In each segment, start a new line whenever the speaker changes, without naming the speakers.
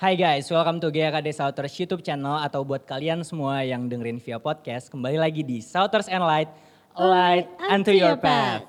Hai guys, welcome to GKD Southers YouTube channel atau buat kalian semua yang dengerin via podcast, kembali lagi di Southers and Light, a Light Oh, unto your path.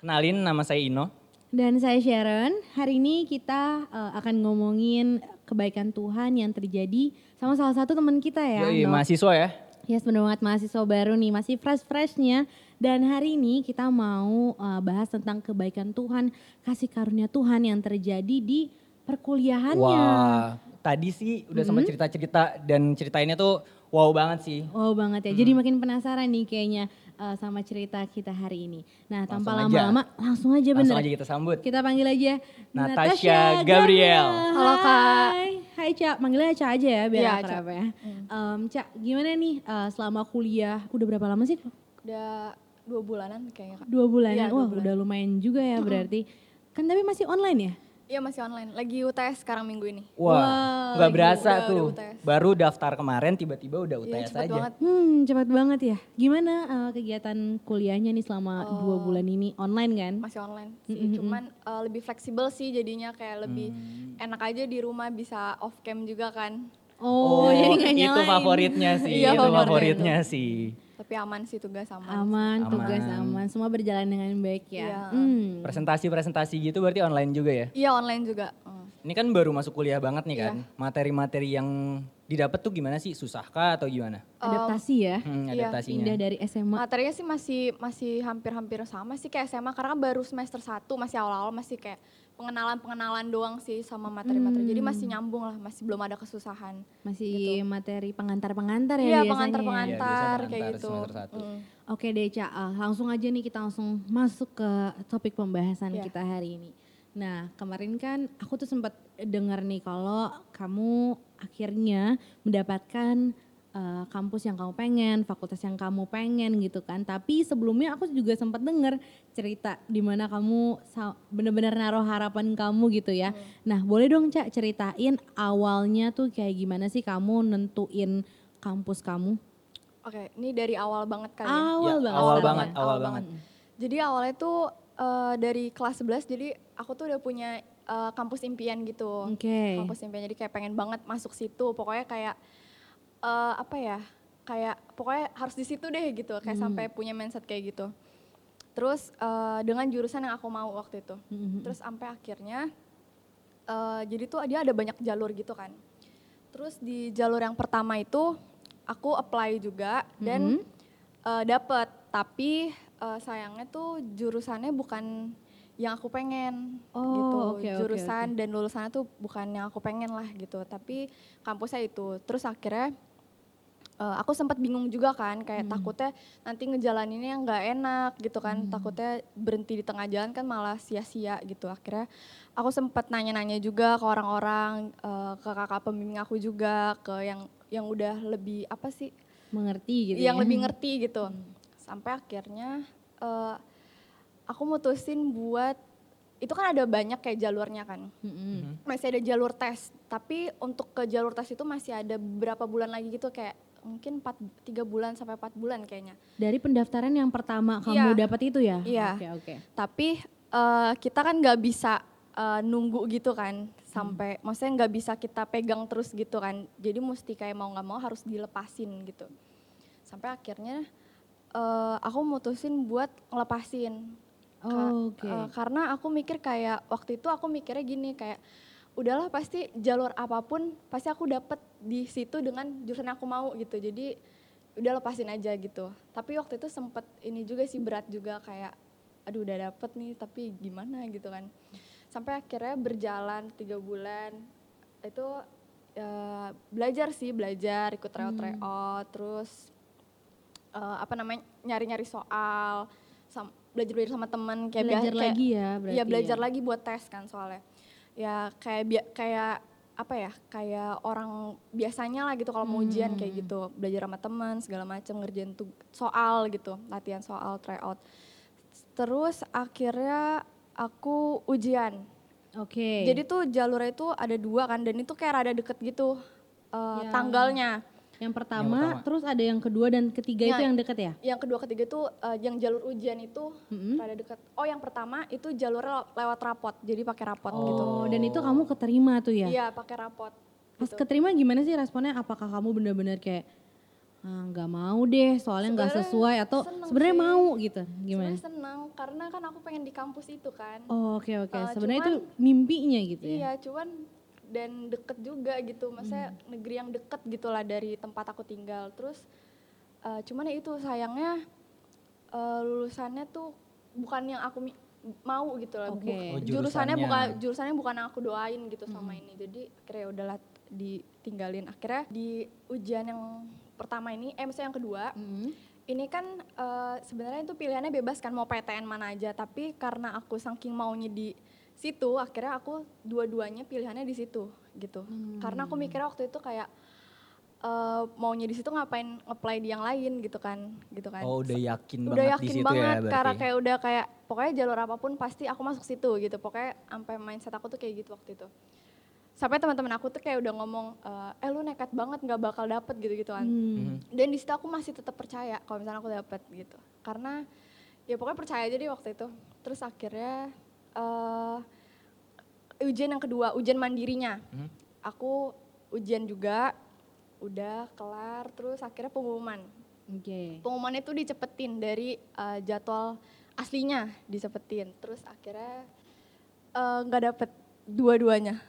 Kenalin nama saya Ino.
Dan saya Sharon, hari ini kita eh, akan ngomongin kebaikan Tuhan yang terjadi sama salah satu teman kita ya.
Yoi,
Dok.
mahasiswa ya.
Yes, bener banget mahasiswa baru nih, masih fresh-freshnya. Dan hari ini kita mau eh, bahas tentang kebaikan Tuhan, kasih karunia Tuhan yang terjadi di perkuliahannya.
Wah, tadi sih udah sempat cerita-cerita dan ceritainnya tuh wow banget sih.
Wow banget ya,
Hmm.
jadi makin penasaran nih kayaknya eh, sama cerita kita hari ini. Nah tanpa
Langsung aja.
lama-lama langsung aja bener.
Langsung aja kita sambut.
Kita panggil aja
Natasha Gabriel.
Halo, Kak.
Hai. Hai Cak, manggilnya Cak aja ya biar
Iya,
akrab ya. Em, Cak, gimana nih eh, selama kuliah, udah berapa lama sih?
Udah dua bulanan kayaknya kak.
Dua bulan.
Iya,
Wah
dua bulan.
udah lumayan juga ya berarti. Kan tapi masih online ya?
Iya masih online. Lagi UTS sekarang minggu ini.
Wah,
Wah,
nggak
lagi
berasa
udah-
tuh.
udah UTS.
Baru daftar kemarin tiba-tiba udah
Iya
UTS
cepet
aja.
banget.
Hmm cepat banget ya. Gimana eh, kegiatan kuliahnya nih selama
Oh.
dua bulan ini online kan?
Masih online sih. Cuman eh, lebih fleksibel sih jadinya kayak lebih
Hmm.
enak aja di rumah bisa off cam juga kan.
Oh, jadi nggak
itu
nyalain.
favoritnya sih,
Iya,
itu
favoritnya
favoritnya sih.
Tapi aman sih tugas aman.
Aman, tugas
Aman.
aman. Semua berjalan dengan baik ya.
Iya.
Hmm.
Presentasi-presentasi gitu berarti online juga ya?
Iya online juga. Hmm.
Ini kan baru masuk kuliah banget nih kan. Materi-materi yang didapat tuh gimana sih? Susahkah atau gimana?
Adaptasi ya.
Hmm,
Iya,
adaptasinya.
Pindah dari SMA
Materinya sih masih masih hampir-hampir sama sih kayak SMA karena kan baru semester 1 masih awal-awal masih kayak pengenalan-pengenalan doang sih sama materi-materi.
Hmm.
Jadi masih nyambung lah, masih belum ada kesusahan.
Masih materi pengantar-pengantar ya
Gitu. Iya,
biasanya.
pengantar-pengantar
Iya, biasanya
kayak
pengantar
gitu.
semester satu.
Mm.
Oke deh Ca, Eh, langsung aja nih kita langsung masuk ke topik pembahasan
Iya.
kita hari ini. Nah kemarin kan aku tuh sempat dengar nih kalau kamu akhirnya mendapatkan eh, kampus yang kamu pengen, fakultas yang kamu pengen gitu kan. Tapi sebelumnya aku juga sempat dengar cerita di mana kamu sa- bener-bener naruh harapan kamu gitu ya. Nah boleh dong Ca ceritain awalnya tuh kayak gimana sih kamu nentuin kampus kamu?
Oke, ini dari awal banget kali ya.
Awal
Ya,
banget.
awal banget, awal banget.
Jadi awalnya tuh eh, dari kelas 11 jadi aku tuh udah punya eh, kampus impian gitu.
Oke.
Kampus impian jadi kayak pengen banget masuk situ. Pokoknya kayak eh, apa ya? Kayak pokoknya harus di situ deh gitu. Kayak sampai punya mindset kayak gitu. Terus eh, dengan jurusan yang aku mau waktu itu.
Mhm.
Terus sampai akhirnya eh, jadi tuh dia ada banyak jalur gitu kan. Terus di jalur yang pertama itu aku apply juga
Mhm.
dan eh, dapet. Tapi eh, sayangnya tuh jurusannya bukan yang aku pengen
Oh,
gitu.
oke, oke,
Jurusan dan lulusannya tuh bukan yang aku pengen lah gitu. Tapi kampusnya itu. Terus akhirnya eh, aku sempat bingung juga kan kayak
Mhm.
takutnya nanti ngejalaninnya nggak enak gitu
Hmm.
kan takutnya berhenti di tengah jalan kan malah sia-sia gitu akhirnya aku sempat nanya-nanya juga ke orang-orang eh, ke kakak pembimbing aku juga ke yang yang udah lebih apa sih
Mengerti gitu ya.
yang lebih ngerti gitu sampai akhirnya eh, aku mutusin buat itu kan ada banyak kayak jalurnya kan
Mm-mm.
Hmm.
masih ada jalur tes tapi untuk ke jalur tes itu masih ada beberapa bulan lagi gitu kayak mungkin 4 3 bulan sampai 4 bulan kayaknya.
Dari pendaftaran yang pertama kamu
Iya.
dapat itu ya?
Iya.
Oke, oke.
Tapi eh, kita kan nggak bisa eh, nunggu gitu kan sampai
Hmm.
maksudnya nggak bisa kita pegang terus gitu kan. Jadi mesti kayak mau nggak mau harus dilepasin gitu. Sampai akhirnya eh, aku mutusin buat ngelepasin Ka-
Oh, Oke.
eh, karena aku mikir kayak waktu itu aku mikirnya gini kayak udahlah pasti jalur apapun pasti aku dapet di situ dengan jurusan yang aku mau gitu. Jadi udah lepasin aja gitu. Tapi waktu itu sempet ini juga sih berat juga kayak aduh udah dapet nih tapi gimana gitu kan. Sampai akhirnya berjalan tiga bulan itu eh, belajar sih belajar ikut tryout-tryout terus eh, apa namanya nyari-nyari soal sam- belajar-belajar sama temen kayak bia-
belajar
kayak-
lagi ya berarti.
Iya belajar lagi buat tes kan soalnya. Ya kayak bia- kayak apa ya kayak orang biasanya lah gitu kalau mau ujian
Hmm.
kayak gitu belajar sama teman segala macam ngerjain tug- soal gitu latihan soal tryout. Terus akhirnya aku ujian.
Oke.
Jadi tuh jalurnya itu ada dua kan dan itu kayak rada deket gitu eh,
Ya.
tanggalnya.
Yang pertama,
pertama.
terus ada yang kedua dan ketiga itu
Nah.
yang deket ya?
Yang kedua ketiga itu eh, yang jalur ujian itu
Mm-mm.
rada dekat. Oh yang pertama itu jalurnya le- lewat rapot, jadi pakai rapot
Oh,
gitu.
dan itu kamu keterima tuh ya?
Iya gitu. pakai rapot.
Pas keterima gimana sih responnya? Apakah kamu benar-benar kayak "Ah, nggak mau deh, soalnya nggak
Sebenarnya
sesuai atau
seneng
sebenarnya
sih.
mau gitu? Gimana?
Sebenarnya senang karena kan aku pengen di kampus itu kan.
Oh, Oke oke,
Eh,
sebenarnya itu
cuman-
mimpinya gitu ya?
Iya cuman dan deket juga gitu,
Hmm.
maksudnya negeri yang deket gitulah dari tempat aku tinggal. Terus eh, cuman ya itu sayangnya eh, lulusannya tuh bukan yang aku mi- mau gitu lah. Bu-
Oke.
Oh,
jurusannya
jurusannya.
bukan jurusannya bukan yang aku doain gitu sama
Hmm.
ini. Jadi akhirnya ya udahlah ditinggalin. Akhirnya di ujian yang pertama ini, eh misalnya yang kedua,
Mm.
ini kan eh, sebenarnya itu pilihannya bebas kan mau PTN mana aja, tapi karena aku saking maunya di situ, akhirnya aku dua-duanya pilihannya di situ gitu.
Hmm.
Karena aku mikirnya waktu itu kayak eh, maunya di situ ngapain ngeplay di yang lain gitu kan, gitu kan.
Oh udah yakin
udah
banget
yakin
di situ
banget
ya berarti.
karena kayak udah kayak pokoknya jalur apapun pasti aku masuk situ gitu. Pokoknya sampai mindset aku tuh kayak gitu waktu itu. Sampai teman-teman aku tuh kayak udah ngomong, eh lu nekat banget nggak bakal dapet gitu-gitu kan
Hmm.
Mhm.
dan di situ aku masih tetap percaya kalau misalnya aku dapat gitu karena ya pokoknya percaya aja deh waktu itu terus akhirnya eh ujian yang kedua ujian mandirinya
Mhm.
aku ujian juga udah kelar terus akhirnya pengumuman
Oke.
pengumumannya itu dicepetin dari eh, jadwal aslinya dicepetin terus akhirnya eh, nggak dapet dua-duanya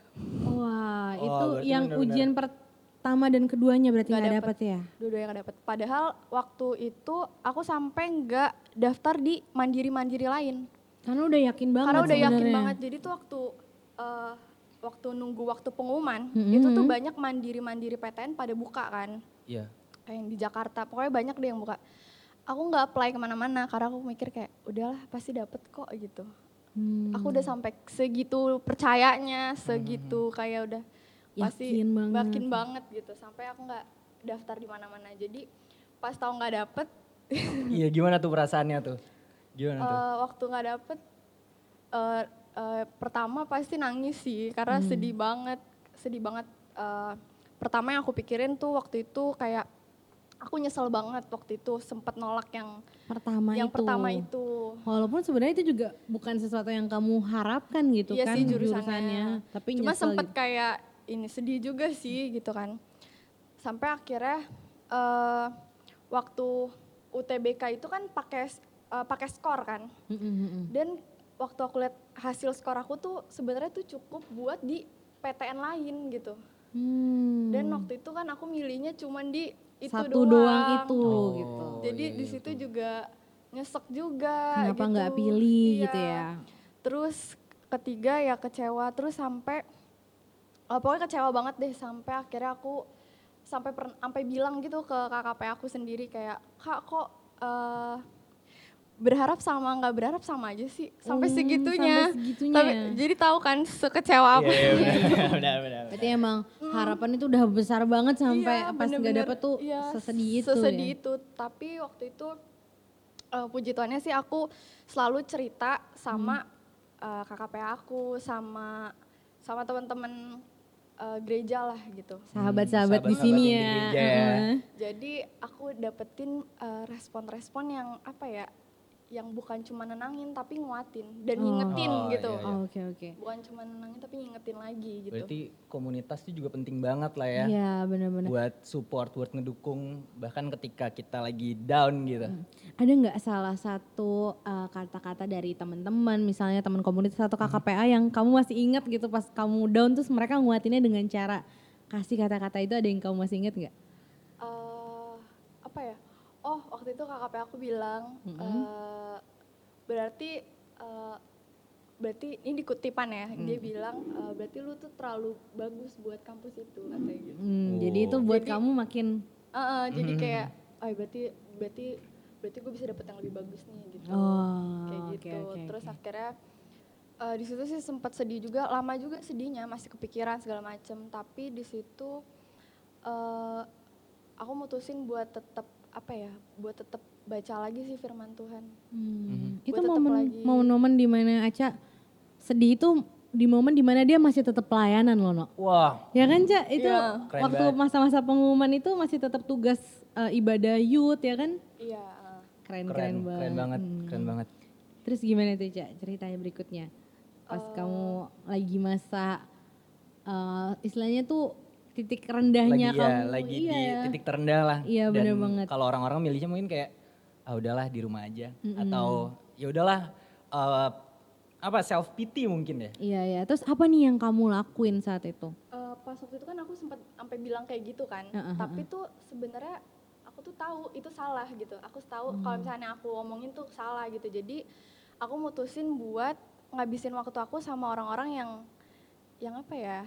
Wah,
Oh,
itu
berarti
yang
benar-benar.
ujian pertama dan keduanya berarti
Nggak
nggak
dapet.
dapat ya?
dua-duanya nggak dapet padahal waktu itu aku sampai nggak daftar di mandiri-mandiri lain
Karena udah yakin banget
Karena udah yakin
sebenarnya.
banget. Jadi tuh waktu eh, waktu nunggu waktu pengumuman
Mm-mm.
itu tuh banyak mandiri-mandiri PTN pada buka kan.
Iya.
Kayak yang di Jakarta, pokoknya banyak deh yang buka. Aku nggak apply kemana-mana karena aku mikir kayak udahlah pasti dapet kok gitu.
Hmm, hmm.
Aku udah sampai segitu percayanya, segitu kayak udah
Yakin banget.
yakin banget gitu. Sampai aku nggak daftar di mana-mana. Jadi pas tahu nggak dapet,
Iya gimana tuh perasaannya tuh? Gimana tuh?
Eh, waktu nggak dapet eh, eh, pertama pasti nangis sih karena
Hmm.
sedih banget sedih banget Eh, pertama yang aku pikirin tuh waktu itu kayak aku nyesel banget waktu itu sempat nolak yang
pertama
yang
itu.
pertama itu
Walaupun sebenarnya itu juga bukan sesuatu yang kamu harapkan gitu
Iya
kan
sih, jurusannya.
Tapi
cuma
nyesel
sempet
gitu.
kayak ini sedih juga sih gitu kan sampai akhirnya eh, waktu UTBK itu kan pakai eh, pakai skor kan
Mm-mm, mm-mm.
Dan waktu aku lihat hasil skor aku tuh sebenarnya tuh cukup buat di PTN lain gitu.
Hmm.
Dan waktu itu kan aku milihnya cuman di itu
satu doang, itu gitu.
Oh,
Jadi
iya,
di
iya,
situ
tuh.
juga nyesek juga.
Kenapa
gitu.
nggak pilih
Iya.
gitu ya?
Terus ketiga ya kecewa terus sampai eh, pokoknya kecewa banget deh sampai akhirnya aku sampai pern- sampai bilang gitu ke KKP aku sendiri kayak kak kok eh, berharap sama nggak berharap sama aja sih sampai
Hmm,
segitunya.
sampai segitunya
Tapi,
ya.
jadi tahu kan sekecewa apa.
Iya, iya, benar, benar, benar.
Berarti emang harapan itu udah besar banget sampai
Hmm. Iya,
pas nggak
bener-bener.
dapet tuh
Iya,
sesedih itu
sesedih
ya.
itu. tapi waktu itu eh, puji Tuhannya sih aku selalu cerita sama
Hmm.
eh, KKP aku sama sama teman-teman eh, gereja lah gitu
Sahabat-sahabat
sahabat-sahabat
di sini
di
ya.
gereja ya.
heeh.
jadi aku dapetin eh, respon-respon yang apa ya yang bukan cuma nenangin tapi nguatin dan
Oh.
ngingetin
Oh,
gitu
iya,
Oh, Oke oke.
bukan cuma nenangin tapi ngingetin lagi gitu
Berarti komunitas itu juga penting banget lah ya.
Iya benar-benar.
Buat support, buat ngedukung bahkan ketika kita lagi down gitu.
Ada nggak salah satu eh, kata-kata dari teman-teman, misalnya teman komunitas atau
Hmm.
KKPA yang kamu masih ingat gitu pas kamu down terus mereka nguatinnya dengan cara kasih kata-kata itu ada yang kamu masih ingat nggak?
eh apa ya? Oh, waktu itu KKP aku bilang eh, berarti eh, berarti ini dikutipan ya. Dia bilang eh, berarti lu tuh terlalu bagus buat kampus itu katanya gitu.
Oh.
Hmm, Jadi itu buat
Jadi-
kamu makin
Eh, eh, jadi kayak oh berarti berarti berarti gue bisa dapet yang lebih bagus nih gitu.
oh
kayak
oke,
gitu.
oke,
Terus
oke.
akhirnya eh, di situ sih sempat sedih juga, lama juga sedihnya, masih kepikiran segala macem. Tapi di situ eh, aku mutusin buat tetap apa ya, buat tetap baca lagi sih firman Tuhan.
Hmm,
Mhm.
Itu
Gua tetep
momen
lagi-
momen-momen di mana Aca sedih itu di momen dimana dia masih tetap pelayanan loh, No.
Wah,
Ya kan, Ca? Itu
Iya.
Keren
waktu
banget.
masa-masa pengumuman itu masih tetap tugas eh, ibadah youth ya kan?
Iya.
keren,
Keren, keren,
keren,
banget.
banget,
Hmm.
keren banget.
Terus gimana tuh, Ca? Ceritanya berikutnya. Pas kamu lagi masa eh, istilahnya tuh titik
Lagi
rendahnya
ya,
kamu.
lagi
iya.
di titik terendah lah.
Iya,
Dan
bener banget.
Kalau orang-orang milihnya mungkin kayak, ah udahlah di rumah aja, atau ya udahlah eh, apa self pity mungkin ya.
Iya, iya. Terus apa nih yang kamu lakuin saat itu?
Eh, pas waktu itu kan aku sempat sampai bilang kayak gitu kan.
Heeh,
Tapi tuh sebenarnya aku tuh tahu itu salah gitu. Aku
Hmm.
tahu kalau misalnya aku omongin tuh salah gitu. Jadi aku mutusin buat ngabisin waktu aku sama orang-orang yang yang apa ya?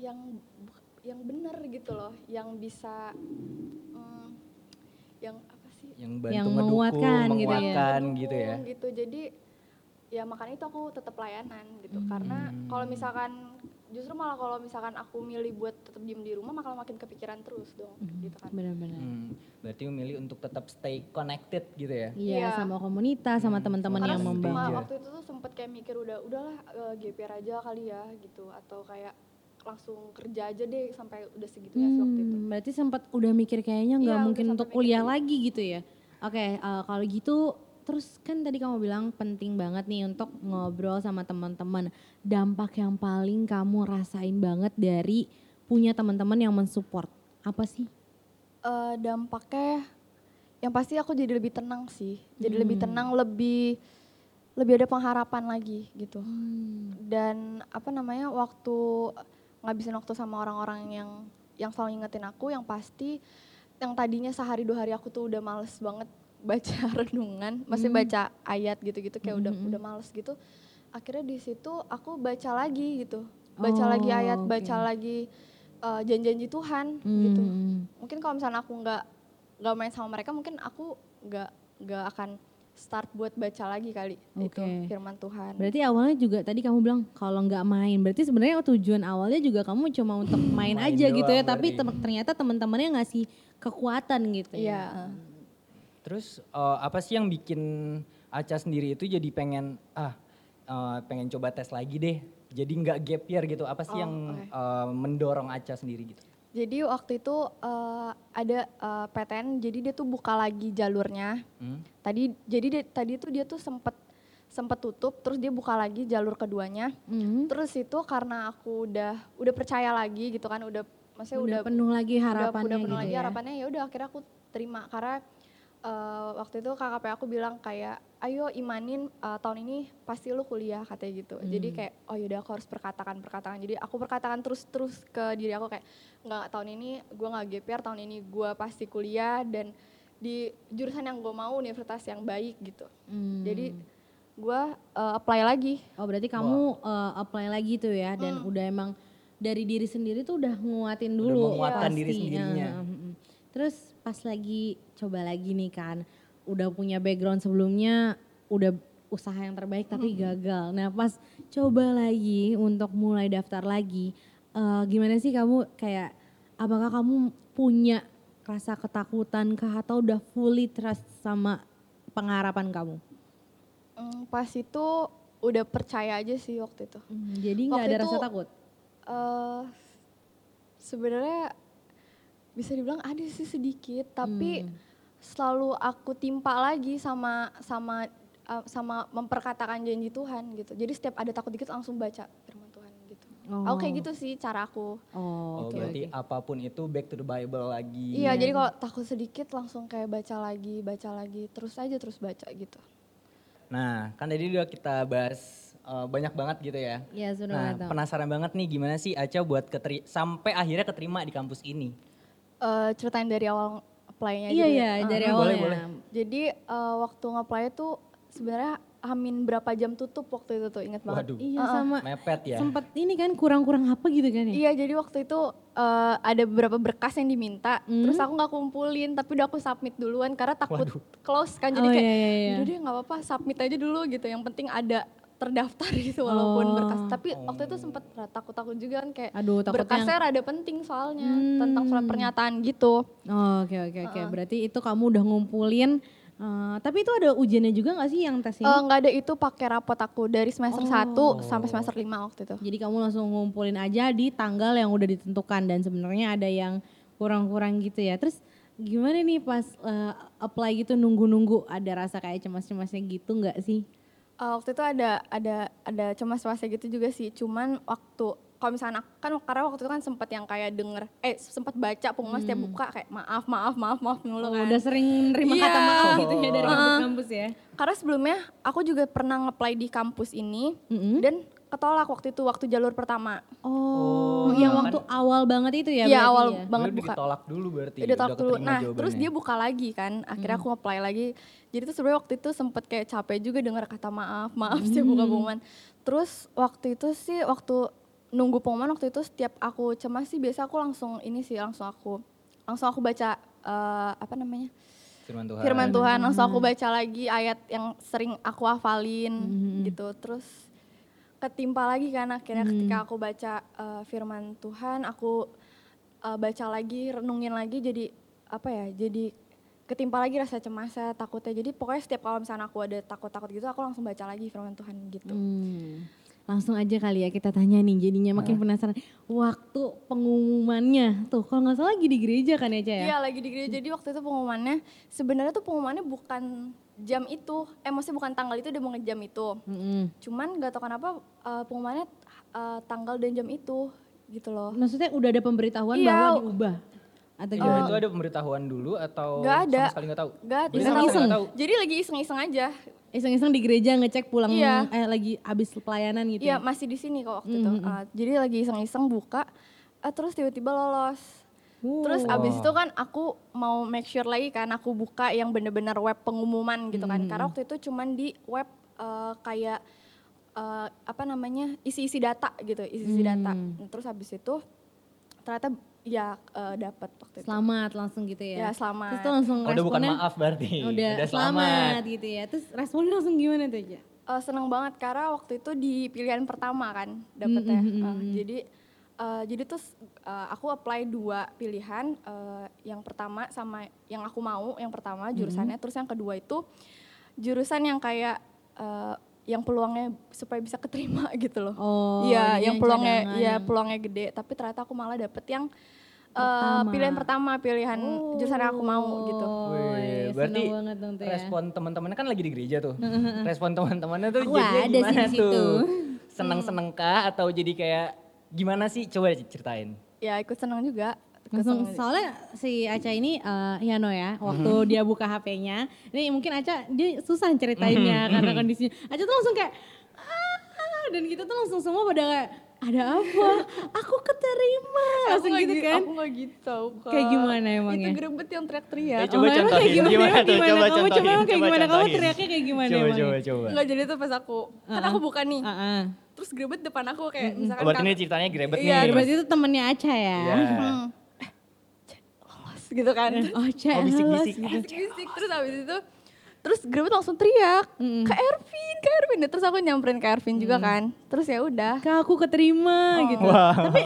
Yang bu- yang bener gitu loh, yang bisa mm, yang apa sih?
Yang bantu
Yang
ngedukung,
menguatkan gitu ya.
menguatkan gitu ya.
Mendukung gitu. Jadi ya makanya itu aku tetap layanan gitu. Karena kalau misalkan justru malah kalau misalkan aku milih buat tetap diem di rumah malah makin kepikiran terus dong gitu kan.
Benar-benar.
Hmm, berarti memilih untuk tetap stay connected gitu ya.
Iya,
Iya.
sama komunitas, sama
Hmm,
teman-teman
sama
yang ya.
teman-teman.
membangun.
Iya.
Cuma waktu itu tuh sempet kayak mikir udah udahlah eh, GPR aja kali ya gitu atau kayak langsung kerja aja deh sampai udah segitunya Iya sih waktu itu.
Hmm, Berarti sempat udah mikir kayaknya nggak
Iya,
mungkin
udah
untuk
sampai
kuliah
mikir.
lagi gitu ya. Oke, eh, kalau gitu terus kan tadi kamu bilang penting banget nih untuk ngobrol sama teman-teman. Dampak yang paling kamu rasain banget dari punya teman-teman yang mensupport apa sih?
Eh, dampaknya yang pasti aku jadi lebih tenang sih. Jadi lebih tenang, lebih lebih ada pengharapan lagi gitu. dan apa namanya waktu ngabisin waktu sama orang-orang yang yang selalu ngingetin aku yang pasti yang tadinya sehari dua hari aku tuh udah males banget baca renungan masih
Hmm.
baca ayat gitu-gitu kayak udah udah males gitu akhirnya di situ aku baca lagi gitu baca lagi
Oh,
ayat baca
oke.
lagi eh, janji-janji Tuhan gitu
Hmm,
mungkin kalau misalnya aku nggak nggak main sama mereka mungkin aku nggak nggak akan start buat baca lagi kali itu
Oke.
firman Tuhan
Berarti awalnya juga tadi kamu bilang kalau nggak main, berarti sebenarnya tujuan awalnya juga kamu cuma untuk
Hmm,
main,
Main
aja gitu ya,
doang
tapi
berarti.
tem- ternyata teman-temannya ngasih kekuatan gitu
iya
ya.
eh.
Terus eh, apa sih yang bikin Aca sendiri itu jadi pengen ah eh, pengen coba tes lagi deh. Jadi nggak gap year gitu. Apa sih
Oh,
yang
oke.
eh, mendorong Aca sendiri gitu?
Jadi waktu itu eh, ada eh, PTN, jadi dia tuh buka lagi jalurnya.
Hmm?
Tadi jadi dia- tadi tuh dia tuh sempet sempet tutup, terus dia buka lagi jalur keduanya.
Hmm.
Terus itu karena aku udah udah percaya lagi gitu kan, udah maksudnya
udah,
udah
penuh lagi
udah-
harapannya
udah penuh
gitu
lagi
ya.
harapannya ya udah akhirnya aku terima karena eh, waktu itu KKP aku bilang kayak ayo imanin eh, tahun ini pasti lu kuliah katanya gitu
Hmm.
jadi kayak oh yaudah aku harus perkatakan perkatakan jadi aku perkatakan terus terus ke diri aku kayak nggak tahun ini gue nggak GPR tahun ini gue pasti kuliah dan di jurusan yang gue mau universitas yang baik gitu
Hmm.
jadi gue eh, apply lagi
oh berarti kamu eh, apply lagi tuh ya dan udah emang dari diri sendiri tuh udah nguatin dulu.
menguatkan
pasti.
diri sendirinya.
Ah, ah, ah. Terus pas lagi coba lagi nih kan, udah punya background sebelumnya, udah usaha yang terbaik tapi gagal. Nah pas coba lagi untuk mulai daftar lagi, eh, gimana sih kamu kayak apakah kamu punya rasa ketakutan kah atau udah fully trust sama pengharapan kamu?
Mm, pas itu udah percaya aja sih waktu itu
Hmm, Jadi nggak
Waktu
ada rasa
itu-
takut.
eh sebenarnya bisa dibilang ada sih sedikit, tapi
Hmm.
selalu aku timpa lagi sama sama eh, sama memperkatakan janji Tuhan gitu. Jadi setiap ada takut dikit langsung baca firman Tuhan gitu. Aku kayak gitu sih cara aku.
Oh,
Oh, oke,
berarti
oke.
apapun itu back to the Bible lagi.
Iya, jadi kalau takut sedikit langsung kayak baca lagi, baca lagi, terus aja terus baca gitu.
Nah, kan tadi udah kita bahas eh, banyak banget gitu ya.
Iya, sudah
Nah,
banget.
penasaran banget nih gimana sih Aca buat keteri sampai akhirnya keterima di kampus ini.
Eh ceritain dari awal apply-nya
Iya
gitu
iya
ya. Eh.
dari
boleh,
awalnya.
boleh.
Jadi eh, waktu ngeplay tuh sebenarnya Amin berapa jam tutup waktu itu tuh ingat banget.
Waduh,
Iya sama
mepet ya.
sempet ini kan kurang-kurang apa gitu kan ya?
Iya jadi waktu itu eh, ada beberapa berkas yang diminta,
Hmm.
terus aku nggak kumpulin tapi udah aku submit duluan karena takut close kan jadi
Oh,
kayak
iya, iya, iya.
udah deh nggak apa-apa submit aja dulu gitu yang penting ada terdaftar gitu walaupun berkas tapi waktu itu sempet takut-takut juga kan kayak
Oh. Aduh, takutnya- Hmm.
berkasnya rada penting soalnya tentang surat pernyataan gitu.
Oh, Oke oke oke berarti itu kamu udah ngumpulin Eh, tapi itu ada ujiannya juga nggak sih yang tes ini?
Eh, nggak ada itu pakai rapot aku dari semester
Oh.
1 sampai semester 5 waktu itu.
Jadi kamu langsung ngumpulin aja di tanggal yang udah ditentukan dan sebenarnya ada yang kurang-kurang gitu ya. Terus gimana nih pas eh, apply gitu nunggu-nunggu ada rasa kayak cemas-cemasnya gitu nggak sih?
Eh, waktu itu ada ada ada cemas-cemasnya gitu juga sih. Cuman waktu kalau misalnya aku- kan karena waktu itu kan sempat yang kayak denger eh sempat baca
Hmm.
pengumuman setiap buka kayak maaf maaf maaf maaf mulu
Oh,
kan.
udah sering nerima
Iya.
kata maaf gitu ya dari
Oh.
kampus-kampus ya.
Karena sebelumnya aku juga pernah nge-apply di kampus ini
Mm-mm.
dan ketolak waktu itu waktu jalur pertama.
Oh, yang
iya.
waktu awal banget itu ya?
Iya
berarti
awal
ya?
banget
Lu
buka.
ditolak dulu berarti.
Udah tolak
gitu, udah
dulu.
keterima
Nah, terus
jawabannya.
dia buka lagi kan. Akhirnya aku apply lagi. Jadi tuh sebenarnya waktu itu sempet kayak capek juga dengar kata maaf, maaf sih buka
Hmm.
pengumuman. Terus waktu itu sih waktu nunggu pengumuman waktu itu setiap aku cemas sih biasa aku langsung ini sih langsung aku langsung aku baca eh, apa namanya?
firman Tuhan.
firman Tuhan langsung aku baca lagi ayat yang sering aku hafalin gitu terus ketimpa lagi kan akhirnya ketika aku baca uh, firman Tuhan aku uh, baca lagi renungin lagi jadi apa ya jadi ketimpa lagi rasa cemasnya takutnya jadi pokoknya setiap kalau misalnya aku ada takut-takut gitu aku langsung baca lagi firman Tuhan gitu
Hmm. Langsung aja kali ya kita tanya nih jadinya makin
Iya.
penasaran. Waktu pengumumannya tuh kalau nggak salah lagi di gereja kan ya Ca ya?
Iya lagi di gereja. Jadi waktu itu pengumumannya sebenarnya tuh pengumumannya bukan jam itu. Eh maksudnya bukan tanggal itu udah mau ngejam itu.
Mm-mm.
Cuman gak tau kenapa eh, pengumumannya eh, tanggal dan jam itu gitu loh.
Maksudnya udah ada pemberitahuan
Iya.
bahwa diubah atau
Iya,
gimana?
itu ada pemberitahuan dulu atau
Nggak ada.
sama sekali nggak tahu?
Gak
Berarti
Iseng-iseng.
ada.
sama sekali nggak tahu.
Jadi lagi iseng-iseng aja.
Iseng-iseng di gereja ngecek pulang
Iya.
eh lagi abis pelayanan gitu.
Iya
ya? hmm,
masih di sini kok waktu itu. Eh, jadi lagi iseng-iseng buka. eh, terus tiba-tiba lolos.
Wow.
Terus abis
Wow.
itu kan aku mau make sure lagi kan aku buka yang bener-bener web pengumuman gitu
Hmm.
kan. Karena waktu itu cuman di web eh, kayak eh, apa namanya isi-isi data gitu, isi-isi data.
Hmm.
Nah, Terus abis itu ternyata ya eh, dapet waktu itu.
Selamat langsung gitu ya.
Ya selamat.
Terus tuh langsung
Oh, udah bukan
responnya
maaf berarti.
udah selamat gitu ya. Terus responnya langsung gimana tuh Ca?
Eh, seneng banget karena waktu itu di pilihan pertama kan dapetnya.
Mm, mm, mm,
Eh, jadi eh, jadi terus eh, aku apply dua pilihan, eh, yang pertama sama yang aku mau, yang pertama jurusannya, terus yang kedua itu jurusan yang kayak eh, yang peluangnya supaya bisa keterima gitu loh.
Oh,
Iya,
jadi
yang peluangnya
cadangan
ya
yang-
peluangnya gede, tapi ternyata aku malah dapet yang eh,
Pertama.
pilihan pertama, pilihan jurusan yang aku mau gitu.
Oh,
Wih,
iya, seneng
berarti
banget dong tuh ya.
respon teman-temannya kan lagi di gereja tuh. respon teman-temannya tuh
Aku
jadinya
ada sih
gimana
di situ.
tuh? Seneng-seneng kah atau jadi kayak gimana sih? Coba ceritain.
Ya ikut seneng juga. ikut
Langsung
seneng.
soalnya si Aca ini eh Yano
Mm-hmm.
ya, waktu dia buka HP-nya, ini mungkin Aca dia susah ceritainnya
Mm-hmm.
karena kondisinya. Aca tuh langsung kayak "Ah, ah," dan kita tuh langsung semua pada kayak ada apa? Aku keterima. Langsung
Aku
gitu
nggak gi-
kan.
Aku gak gitu. Kak.
Kayak gimana emangnya?
Itu gerebet yang teriak-teriak.
Eh, coba
Ya, emang kayak
contohin,
gimana,
gimana
emang
tuh? Coba
gimana? Kamu coba
contohin,
kayak
coba
gimana? Kamu
contohin.
teriaknya kayak gimana
Coba,
emangnya?
coba, coba.
Enggak jadi tuh pas aku, kan aku buka nih.
Heeh.
Terus gerebet depan aku kayak misalkan
Oh, Berarti ini
kak-
ceritanya grebet
Iya,
nih.
Berarti itu temennya Aca ya.
Iya.
Hmm. Eh, Cek, lolos gitu kan. Terus
Oh, Aca.
Oh, bisik-bisik.
alas.
Bisik-bisik. Terus habis itu terus gerebet langsung teriak, "Kak Ervin, Kak Ervin." Nah, Terus aku nyamperin Kak Ervin juga kan. Terus ya udah.
Kak aku keterima gitu.
Oh. Wah.
Tapi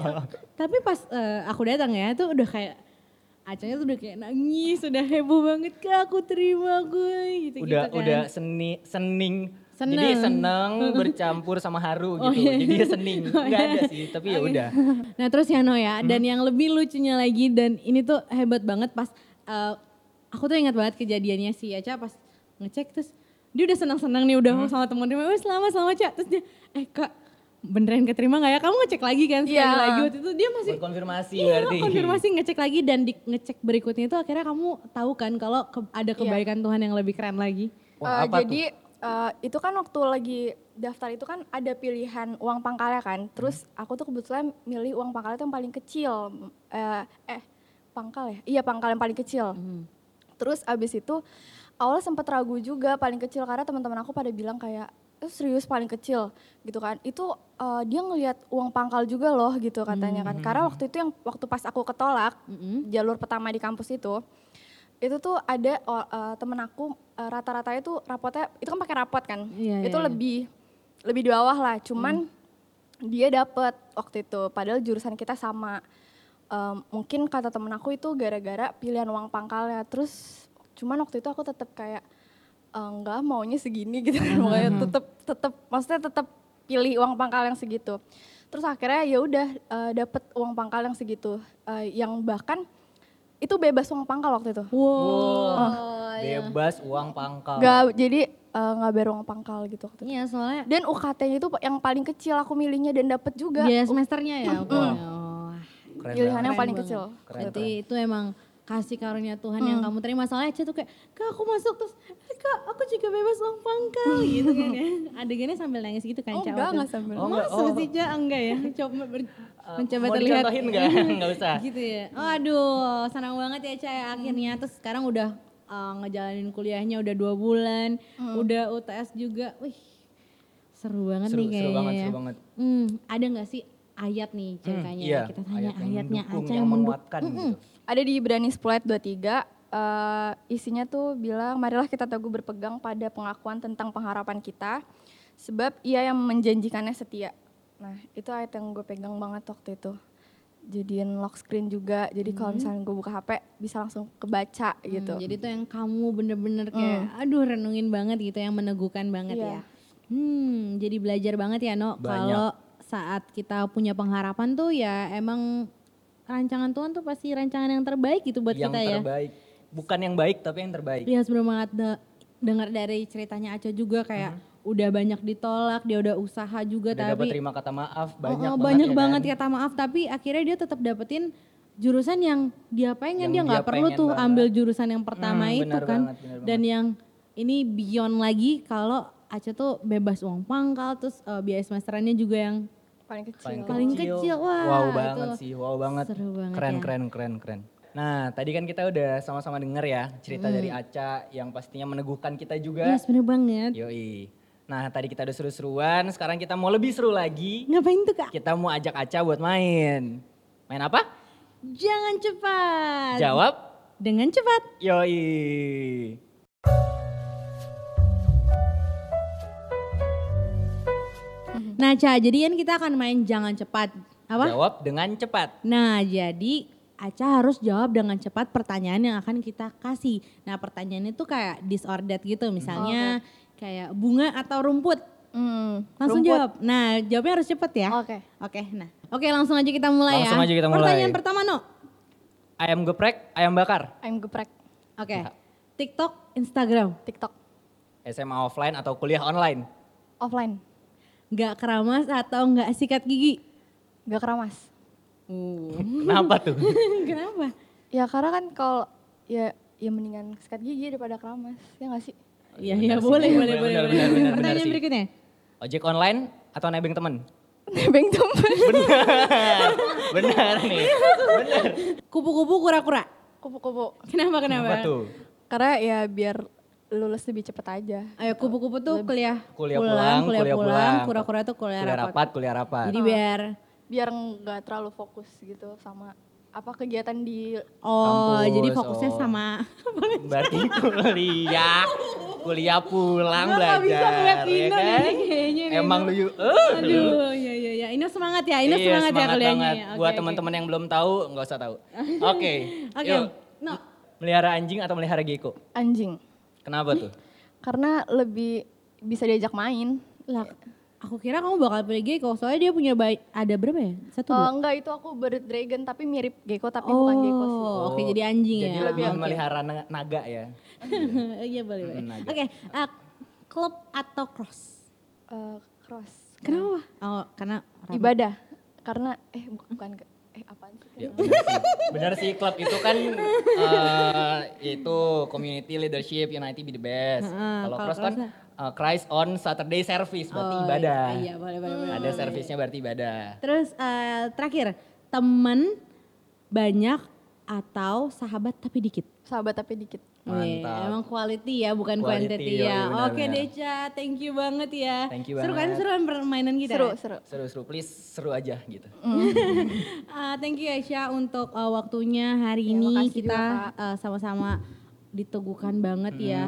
tapi pas eh, aku datang ya itu udah kayak acanya tuh udah kayak nangis, udah heboh banget kak aku terima gue gitu
udah
gitu kan.
udah seni sening jadi
Seneng.
seneng bercampur sama haru
Oh,
gitu
iya.
jadi dia sening nggak ada sih tapi ya udah Hmm.
Nah terus Yano ya dan yang lebih lucunya lagi dan ini tuh hebat banget pas eh, aku tuh ingat banget kejadiannya si Aca pas ngecek terus dia udah senang-senang nih udah
Hmm.
sama teman-teman, wes selamat selamat Ca. Terus dia eh kak beneran keterima nggak ya? Kamu ngecek lagi kan sekali
Iya.
lagi waktu itu dia masih
Buat konfirmasi
Iya,
berarti
konfirmasi ngecek lagi dan di ngecek berikutnya itu akhirnya kamu tahu kan kalau ke- ada kebaikan Tuhan yang lebih keren lagi.
Wah,
Eh,
apa
jadi eh, itu kan waktu lagi daftar itu kan ada pilihan uang pangkalnya kan. Terus
Hmm.
aku tuh kebetulan milih uang pangkalnya tuh yang paling kecil. Eh, eh pangkal ya? Iya pangkal yang paling
Hmm.
kecil.
Hmm.
Terus abis itu awalnya sempat ragu juga paling kecil karena teman-teman aku pada bilang kayak "Eh, serius paling kecil gitu kan itu eh, dia ngelihat uang pangkal juga loh gitu katanya kan
Hmm.
karena waktu itu yang waktu pas aku ketolak jalur pertama di kampus itu itu tuh ada o- eh, temen aku eh, rata-ratanya tuh rapotnya itu kan pakai rapot kan
Iya, iya,
itu
iya.
lebih lebih di bawah lah cuman dia dapet waktu itu padahal jurusan kita sama Em, mungkin kata temen aku itu gara-gara pilihan uang pangkalnya terus cuman waktu itu aku tetap kayak "Eh, enggak maunya segini gitu kan makanya tetap tetap maksudnya tetap pilih uang pangkal yang segitu terus akhirnya ya udah eh, dapet uang pangkal yang segitu Eh, yang bahkan itu bebas uang pangkal waktu itu
Oh,
Wow,
iya.
bebas uang pangkal.
Gak, jadi eh, nggak bayar uang pangkal gitu waktu itu.
Iya soalnya
Dan UKT-nya itu yang paling kecil aku milihnya dan dapet juga
biaya semesternya ya. pokoknya. Wah,
Keren
pilihan
banget.
yang paling
banget.
kecil.
Keren,
Berarti itu emang kasih karunia Tuhan yang kamu terima. Soalnya Ece tuh kayak, kak aku masuk terus, "Eh, kak aku juga bebas uang pangkal gitu kan ya. Adegannya sambil nangis gitu kan
Oh,
Ca,
enggak,
waktu
enggak
itu.
sambil.
Oh, enggak.
Masa
Oh.
sih Ca? enggak ya? Coba ber-
Eh,
mencoba
mau
terlihat.
dicontohin enggak? Enggak usah.
Gitu ya. Oh, aduh, senang banget ya Ca ya, akhirnya. Terus sekarang udah eh, ngejalanin kuliahnya udah dua bulan,
Hmm.
udah UTS juga. Wih, seru banget
Seru,
nih
seru
kayaknya.
banget,
ya.
seru banget.
Hmm, ada nggak sih ayat nih ceritanya?
iya,
Kita tanya
ayat yang
ayatnya
mendukung,
aja
yang
mendu-
menguatkan
Mm-mm.
gitu.
Ada di Ibrani 10 ayat 23, eh, isinya tuh bilang, marilah kita teguh berpegang pada pengakuan tentang pengharapan kita, sebab ia yang menjanjikannya setia. Nah, itu ayat yang gue pegang banget waktu itu. Jadiin lock screen juga, jadi kalau misalnya gue buka HP, bisa langsung kebaca gitu. Mm.
Hmm, jadi itu yang kamu bener-bener kayak, aduh renungin banget gitu, yang meneguhkan banget
Iya.
ya. Hmm, jadi belajar banget ya No,
Banyak.
kalau saat kita punya pengharapan tuh ya emang rancangan Tuhan tuh pasti rancangan yang terbaik gitu buat
yang
kita ya.
terbaik. Bukan yang baik tapi yang terbaik.
Iya sebelum banget de- dengar dari ceritanya Aca juga kayak udah banyak ditolak, dia udah usaha juga
Mm-hmm. Udah dapat
tapi
terima kata maaf
Oh,
banyak
oh,
banget.
banyak
ya
banget
kan?
kata maaf tapi akhirnya dia tetap dapetin jurusan yang dia
Yang
pengen dia
dia
nggak perlu
pengen
tuh
banget.
ambil jurusan yang pertama
Hmm,
itu
benar
kan
banget, benar
dan yang ini beyond lagi kalau Aca tuh bebas uang pangkal terus eh, biaya semesterannya juga yang
Paling kecil.
Paling,
Paling kecil, wah,
Wow
itu
banget sih, wow banget.
seru banget
keren,
ya.
keren, keren, keren. Nah, tadi kan kita udah sama-sama denger ya cerita dari Aca yang pastinya meneguhkan kita juga.
ya sebenernya banget
Iya. Yoi. Nah, tadi kita udah seru-seruan, sekarang kita mau lebih seru lagi.
ngapain tuh kak
Kita mau ajak Aca buat main. Main apa?
jangan cepat
Jawab.
dengan cepat
Yoi.
nah Aca jadi kan kita akan main jangan cepat apa
Jawab dengan cepat.
Nah, jadi Aca harus jawab dengan cepat pertanyaan yang akan kita kasih. Nah, pertanyaannya tuh kayak disordered
Oh,
gitu, misalnya kayak bunga atau rumput.
Hmm,
Langsung
rumput.
jawab. Nah, jawabnya harus cepat ya.
Oke.
Oke, nah. Oke, langsung aja kita mulai ya.
Langsung aja kita mulai.
Pertanyaan pertama, No.
Ayam geprek, ayam bakar.
Ayam geprek,
Oke.
Nah.
TikTok, Instagram.
TikTok,
SMA offline atau kuliah online?
offline,
Nggak keramas atau nggak sikat gigi?
gak keramas.
Uh,
Kenapa tuh?
Kenapa?
Ya karena kan kalau ya ya mendingan sikat gigi daripada keramas, ya gak sih?
Iya, iya
Benar sih,
boleh,
benar, benar,
boleh, boleh,
benar,
boleh.
benar, benar,
Pertanyaan
sih.
berikutnya.
Ojek online atau nebeng temen?
Nebeng temen.
Benar, benar nih. Benar.
Kupu-kupu kura-kura.
Kupu-kupu.
Kenapa, kenapa?
Apa tuh?
Karena ya biar lulus lebih cepet aja.
Ayo kupu-kupu tuh kuliah
Kuliah pulang,
kuliah
kuliah
pulang,
pulang,
kura-kura tuh kuliah,
Kuliah
rapat.
rapat, kuliah rapat.
Jadi biar
Biar nggak terlalu fokus gitu sama apa kegiatan di
oh
Kampus,
jadi fokusnya
oh.
sama
Berarti kuliah, kuliah pulang
Gua nggak
belajar.
bisa ngeliat
ya
Ino
kan?
nih, kayaknya nih,
Emang
Ino.
lu yuk. eh, lu.
aduh ya ya ya ini semangat ya ini
Iya,
semangat, ya kuliahnya
banget.
ya.
Buat
Oke,
teman-teman yang belum tahu, nggak usah tahu. Oke.
oke Oke,
Yuk,
no
melihara anjing atau melihara gecko?
anjing.
Kenapa tuh?
Karena lebih bisa diajak main.
lah aku kira kamu bakal pilih Geko soalnya dia punya bayi ada berapa ya satu
Oh,
dua
enggak itu aku bird dragon tapi mirip gecko tapi bukan gecko sih.
Oh, oke jadi anjing
Jadi
ya
lebih
Oke.
melihara na- naga ya.
iya boleh boleh
Mm,
oke
agak.
ah, klub atau cross
Eh, cross.
kenapa oh karena
Ibadah. Karena eh bu- bukan ke- eh apaan sih?
Ya, benar sih. benar sih klub itu kan eh, itu community leadership United be the best.
Heeh,
Kalau
kalau
cross kan
cross-nya?
eh, Christ on Saturday service berarti
Oh, iya,
ibadah.
iya, boleh, boleh, boleh,
Ada
boleh.
servisnya berarti ibadah.
Terus eh, terakhir, temen banyak atau sahabat tapi dikit.
Sahabat tapi dikit.
Wih,
Mantap.
Iya, emang quality ya, bukan
Quality,
quantity
yoi,
ya.
benar,
Oke
benar.
Deca, thank you banget ya.
Thank you
seru kan
banget.
seru kan permainan kita.
Seru, seru.
Seru-seru please seru aja gitu.
Mm. Ah, thank you Aisyah untuk eh, waktunya hari
Ya,
ini
makasih juga,
Mm-hmm.
kita eh, sama-sama diteguhkan banget ya.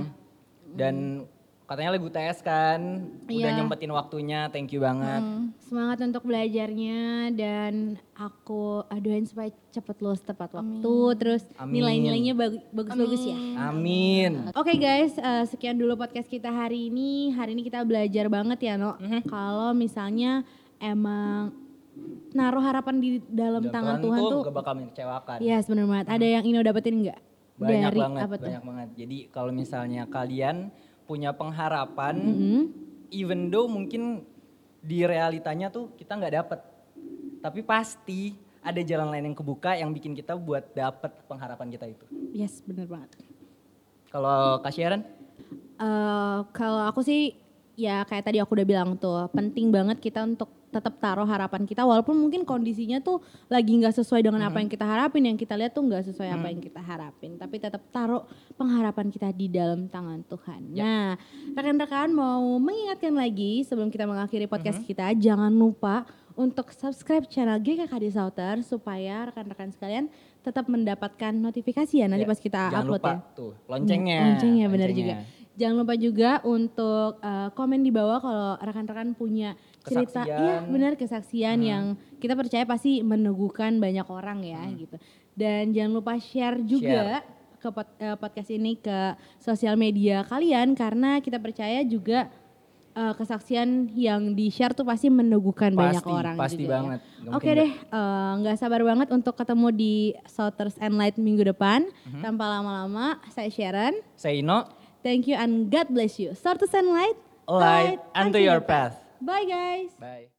Dan Katanya lagi UTS kan, udah
Iya. Mm.
nyempetin waktunya, thank you banget.
Semangat untuk belajarnya dan aku aduin supaya cepet lulus tepat waktu terus
Amin.
nilai-nilainya bagu- bagus-bagus ya.
Amin.
Oke guys, eh, sekian dulu podcast kita hari ini. Hari ini kita belajar banget ya, No. Kalau misalnya emang naruh harapan di dalam
Dalam
tangan Tuhan tuh,
gak bakal mengecewakan.
ya yes, benar banget. Ada yang Ino dapetin nggak?
Banyak
Dari
banget,
apa tuh?
banyak banget. Jadi kalau misalnya kalian punya pengharapan,
Hmm?
even though mungkin di realitanya tuh kita nggak dapet. Tapi pasti ada jalan lain yang kebuka yang bikin kita buat dapet pengharapan kita itu.
Yes, benar banget.
Kalau Kak Sharon?
Eh, kalau aku sih ya kayak tadi aku udah bilang tuh penting banget kita untuk tetap taruh harapan kita walaupun mungkin kondisinya tuh lagi nggak sesuai dengan
Mm-hmm.
apa yang kita harapin yang kita lihat tuh nggak sesuai apa yang kita harapin tapi tetap taruh pengharapan kita di dalam tangan Tuhan.
Ya.
Nah rekan-rekan mau mengingatkan lagi sebelum kita mengakhiri podcast
Mm-hmm.
kita jangan lupa untuk subscribe channel GKKD Sauter supaya rekan-rekan sekalian tetap mendapatkan notifikasi ya nanti
Ya,
pas kita
Jangan
upload
lupa
ya.
tuh loncengnya.
Loncengnya benar
loncengnya.
juga. Jangan lupa juga untuk eh, komen di bawah kalau rekan-rekan punya cerita, iya
Kesaksian. Hmm.
benar kesaksian yang kita percaya pasti meneguhkan banyak orang ya
Hmm.
gitu. Dan jangan lupa share juga ke pod- eh, podcast ini ke sosial media kalian karena kita percaya juga eh, kesaksian yang di share tuh pasti meneguhkan banyak
Pasti,
orang
pasti
juga ya.
banget. Nggak
Oke
mungkin
deh, eh, nggak sabar banget untuk ketemu di Southers and Light minggu depan.
Hmm.
Tanpa lama-lama, saya Sharon.
Say no,
Thank you and God bless you. Southers and Light.
light unto your path.
Bye guys.
Bye.